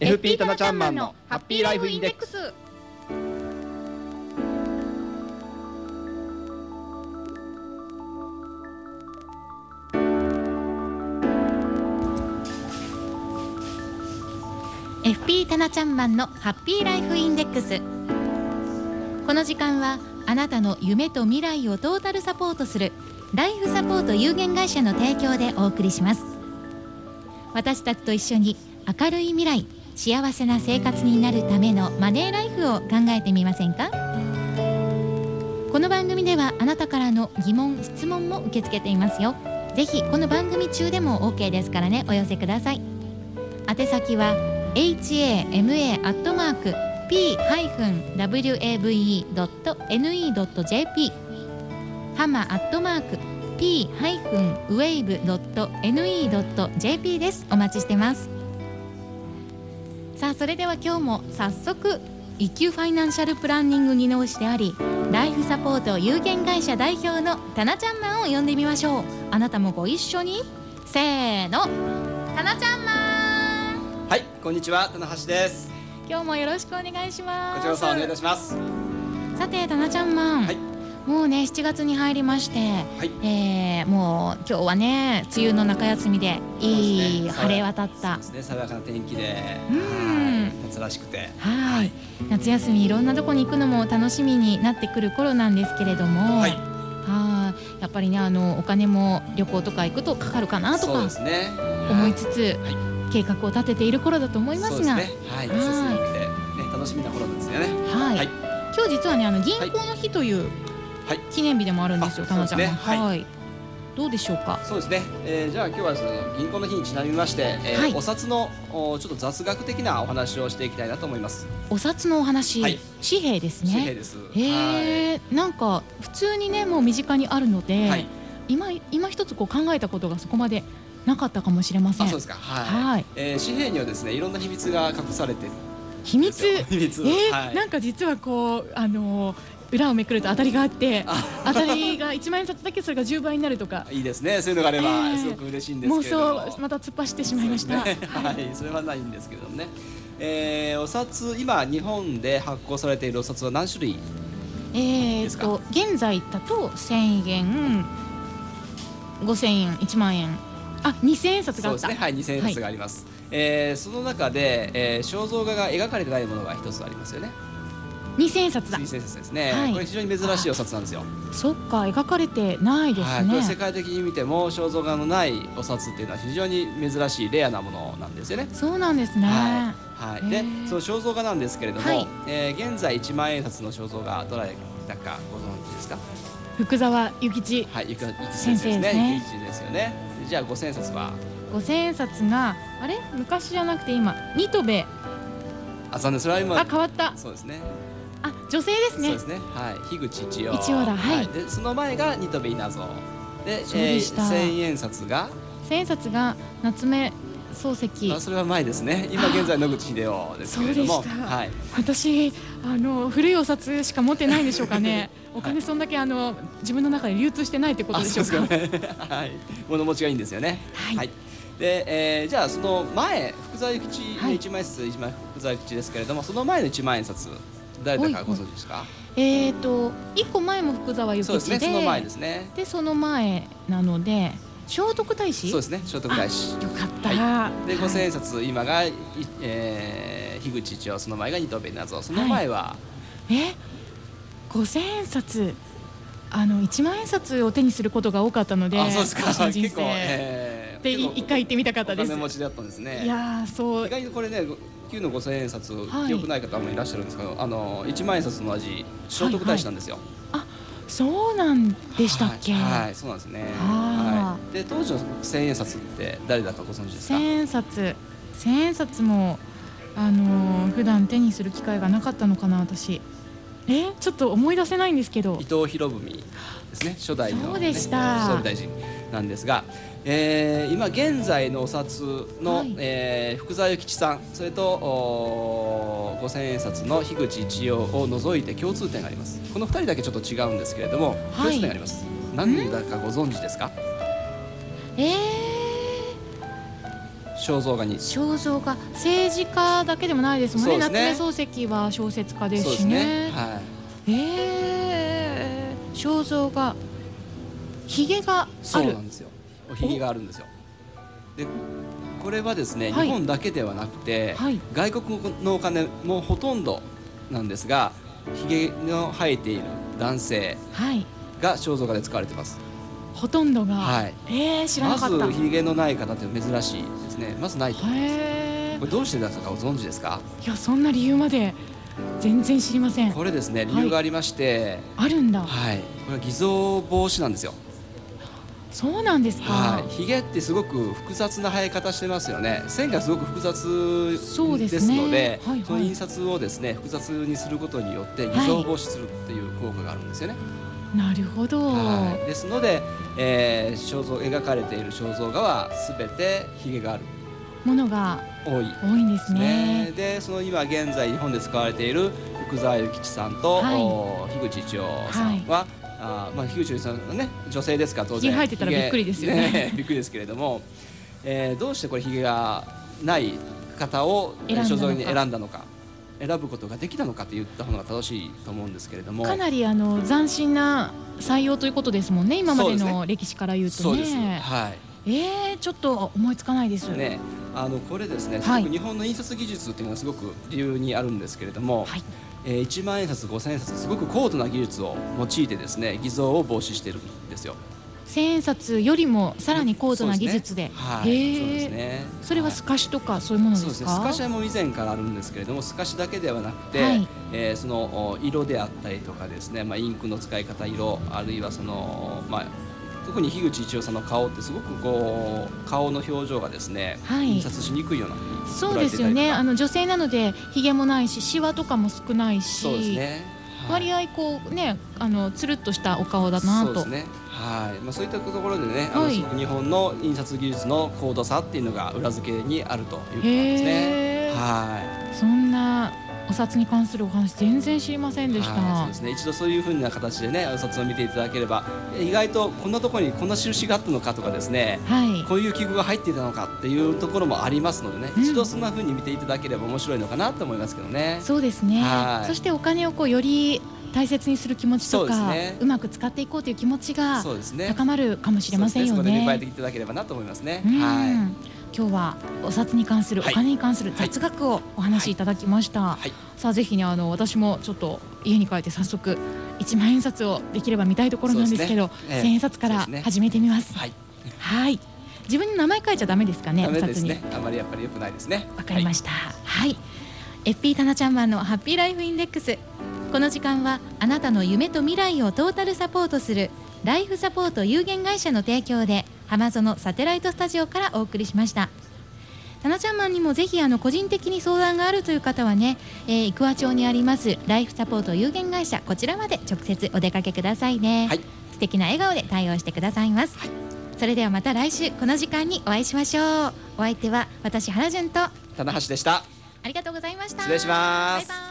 FP タナちゃんマンのハッピーライフインデックスス FP タナちゃんマンのハッピーライフインデックスこの時間はあなたの夢と未来をトータルサポートするライフサポート有限会社の提供でお送りします私たちと一緒に明るい未来幸せな生活になるためのマネーライフを考えてみませんかこの番組ではあなたからの疑問質問も受け付けていますよぜひこの番組中でも OK ですからねお寄せください宛先は hama.p-wave.ne.jp ハマアットマーク p-wave.ne.jp ですお待ちしてますさあそれでは今日も早速一級ファイナンシャルプランニング技能士でありライフサポート有限会社代表のタナちゃんマンを呼んでみましょうあなたもご一緒にせーのタナちゃんマンはいこんにちは棚橋です今日もよろしくお願いしこまちすらこそお願いいたしますはさてタナちゃんマン、いもうね7月に入りまして、はいえーもう今日はね梅雨の中休みでいいそうですね晴れ渡った、そうですね爽やかな天気でうんはい夏らしくてはい、夏休みいろんなとこに行くのも楽しみになってくる頃なんですけれども、はいはいやっぱりねあのお金も旅行とか行くとかかるかなとそうかですね思いつつ、は計画を立てている頃だと思いますがそうですねはい夏休みに向けてね楽しみな頃なんですよねはい、はい今日実はねあの銀行の日というはい記念日でもあるんですよ、あたまちゃんそうですねはははい、どうでしょうか。そうですね、えー、じゃあ今日はその銀行の日にちなみまして、えーはいお札のおちょっと雑学的なお話をしていきたいなと思います。お札のお話、はい紙幣です紙幣ね。です。はへえ、なんか普通にねもう身近にあるので、い。はい。今今一つこう考えたことがそこまでなかったかもしれませあ、ん。そうですか。はい。はい、えー、紙幣にはですね、いろんな秘密が隠されてるん秘で密。すよ。え秘密。ーはい。なんか実はこうあのー裏をめくると当たりがあって当たりが1万円札だけそれが10倍になるとかいい ですね。そういうのがあれえばーすごく嬉しいんです妄けれども。想また突っ走ってしまいました。そうですねはい、それはないんですけれどもね。えー、お札今日本で発行されているお札は何種類？え でー、すとか現在だと1000円5000円1万円あ2000円札がそうあっですた、ね。はい、2000円札があります。えー、その中で、えー、肖像画が描かれてないものが一つありますよね。 2000円札だ水先生ですね、はいこれ非常に珍しいお札なんですよ。そっか描かれてないですはい、こね、れ世界的に見ても肖像画のないお札っていうのは非常に珍しいレアなものなんですよね。そうなんですね、はい、はい、でへーその肖像画なんですけれども、はいえー現在1万円札の肖像画どれだかご存知ですか福沢諭吉はいゆくゆき先生です先生ですねねゆきちですよねじゃあ5000円札は5000円札があれ昔じゃなくて今ニトベあ残念それは今あ変わったそうですねあ女性ですそうねですねはい樋口一葉一葉だはいでその前が二戸部稲造でそうでしたえー1000円札が千円札が夏目漱あ石それは前ですね今現在野口英世ですけれどそもうでしたはい私あの古いお札しか持ってないんでしょうか ねお金そんだけあの自分の中で流通してないってことあでしそょううでかすかねはい物持ちがいいんですよねはいで、えーじゃあその前福沢諭吉はのい一万円札一枚福沢諭吉ですけれどもその前の一万円札誰だかご存知ですかえー、と一個前も福沢諭吉そうでですねその前ですねでその前なので聖徳太子そうですね聖徳太子あよかった、ではい五千円札今がいえー樋口一葉その前が二戸部稲造その前はえ五千円札あの一万円札を手にすることが多かったのであそうですか私の人生結構えーでい結構一回行ってみたかったでおす金持ちだったんですねいやーそう意外にこれね旧の五千円札、はい記憶ない方もいらっしゃるんですけどあの一万円札と同じ聖徳太子なんですよ、そうなんでしたっけ、はい、はいそうなんですねはあいで当時の千円札って誰だかご存知ですか千円札千円札もあのー普段手にする機会がなかったのかな私えちょっと思い出せないんですけど伊藤博文ですね初代の、ね、そうでした総理大臣なんですが、えー今現在のお札の、はいえー福沢諭吉さんそれとおー五千円札の樋口一葉を除いて共通点がありますこの二人だけちょっと違うんですけれども、はい共通点があります何だかご存知ですかえー、肖像画に肖像画政治家だけでもないですもんねそうですね夏目漱石は小説家ですそうでしすねねはえー、肖像画ひげがいあそうるなんですよおひげがあるんですよでこれはですね、はい日本だけではなくて、はい外国のお金もほとんどなんですがひげの生えている男性はいが肖像画で使われてますほとんどが、はいえー、知らまなかずったひげのない方って珍しいですねまずないと思いますへえこれどうしてだったかご存知ですかいやそんな理由まで全然知りませんこれですね理由がありまして、あるんだはい、これは偽造防止なんですよ。そうなんですか、はい、ひげってすごく複雑な生え方してますよね。線がすごく複雑そうでですすねので、はいはいその印刷をですね複雑にすることによって偽造防止するっていう効果があるんですよね。なるほど、はい、ですので、えー肖像描かれている肖像画はすべてひげがあるものが多い。多いんですねね、でその今現在日本で使われている福沢諭吉さんと、はいお樋口一葉さんは、あーまあ、樋口一葉さんはね女性ですから当然ひげ生えてたらびっくりですよねひげ びっくりですけれども、えーどうしてこれひげがない方を選んだのか所蔵に選んだのか選ぶことができたのかと言った方が正しいと思うんですけれどもかなりあの斬新な採用ということですもんね今までそうですの歴史から言うそとうです、ねはいえー、ちょっと思いつかないです、ね、あのこれですね、はいすごく日本の印刷技術っていうのはすごく理由にあるんですけれども、はいえー、1万円札5千円札すごく高度な技術を用いてですね偽造を防止してるんですよ千円札よりもさらに高度な技術でそうへですねはい、ーそうですねそれははい透かしとかそういうものそうでですすねか透かしはもう以前からあるんですけれども透かしだけではなくて、はいえーそのお色であったりとかですね、まあ、インクの使い方色あるいはその、まあ、特に樋口一葉さんの顔ってすごくこう顔の表情がですね、はい印刷しにくいようなそうですよねあの女性なのでひげもないしシワとかも少ないしそうですね、はい割合こうねあのつるっとしたお顔だなそうでと、すね。はい。まあそういったところでね、あのはいすごく日本の印刷技術の高度さっていうのが裏付けにあるということなんですね。へえはい。そんなお札に関するお話全然知りませんでした、はいそうですね。一度そういうふうな形でね、お札を見ていただければ、え意外とこんなところにこんな印があったのかとかですね。はいこういう記号が入っていたのかっていうところもありますのでね、うん一度そんなふうに見ていただければ面白いのかなと思いますけどね。そうですねはいそしてお金をこうより大切にする気持ちそとかうう,、ですねまく使っていこうという気持ちがそうですね。高まるかもしれませんよそうですそこで芽生えてねいただければなと思いますね。うんは今日はお札に関する、はいお金に関する雑学をお話しいただきました、い。はい。さあぜひねあの私もちょっと家に帰って早速一万円札をできれば見たいところなんですけどそうで千、すねええ円札かそらうですね始めてみますはい。はい自分の名前書いちゃダメですかねダメでお札すにね。あまりやっぱり良くないですね。わかりました。はい。FP タナちゃんマンのハッピーライフインデックス。この時間はあなたの夢と未来をトータルサポートするライフサポート有限会社の提供で浜園サテライトスタジオからお送りしました。タナちゃんマンにもぜひあの個人的に相談があるという方はね、えー、生町にありますライフサポート有限会社こちらまで直接お出かけくださいね。はい素敵な笑顔で対応してくださいます。それではまた来週この時間にお会いしましょう。お相手は私原潤と棚橋でした。ありがとうございました。失礼しますバイバイ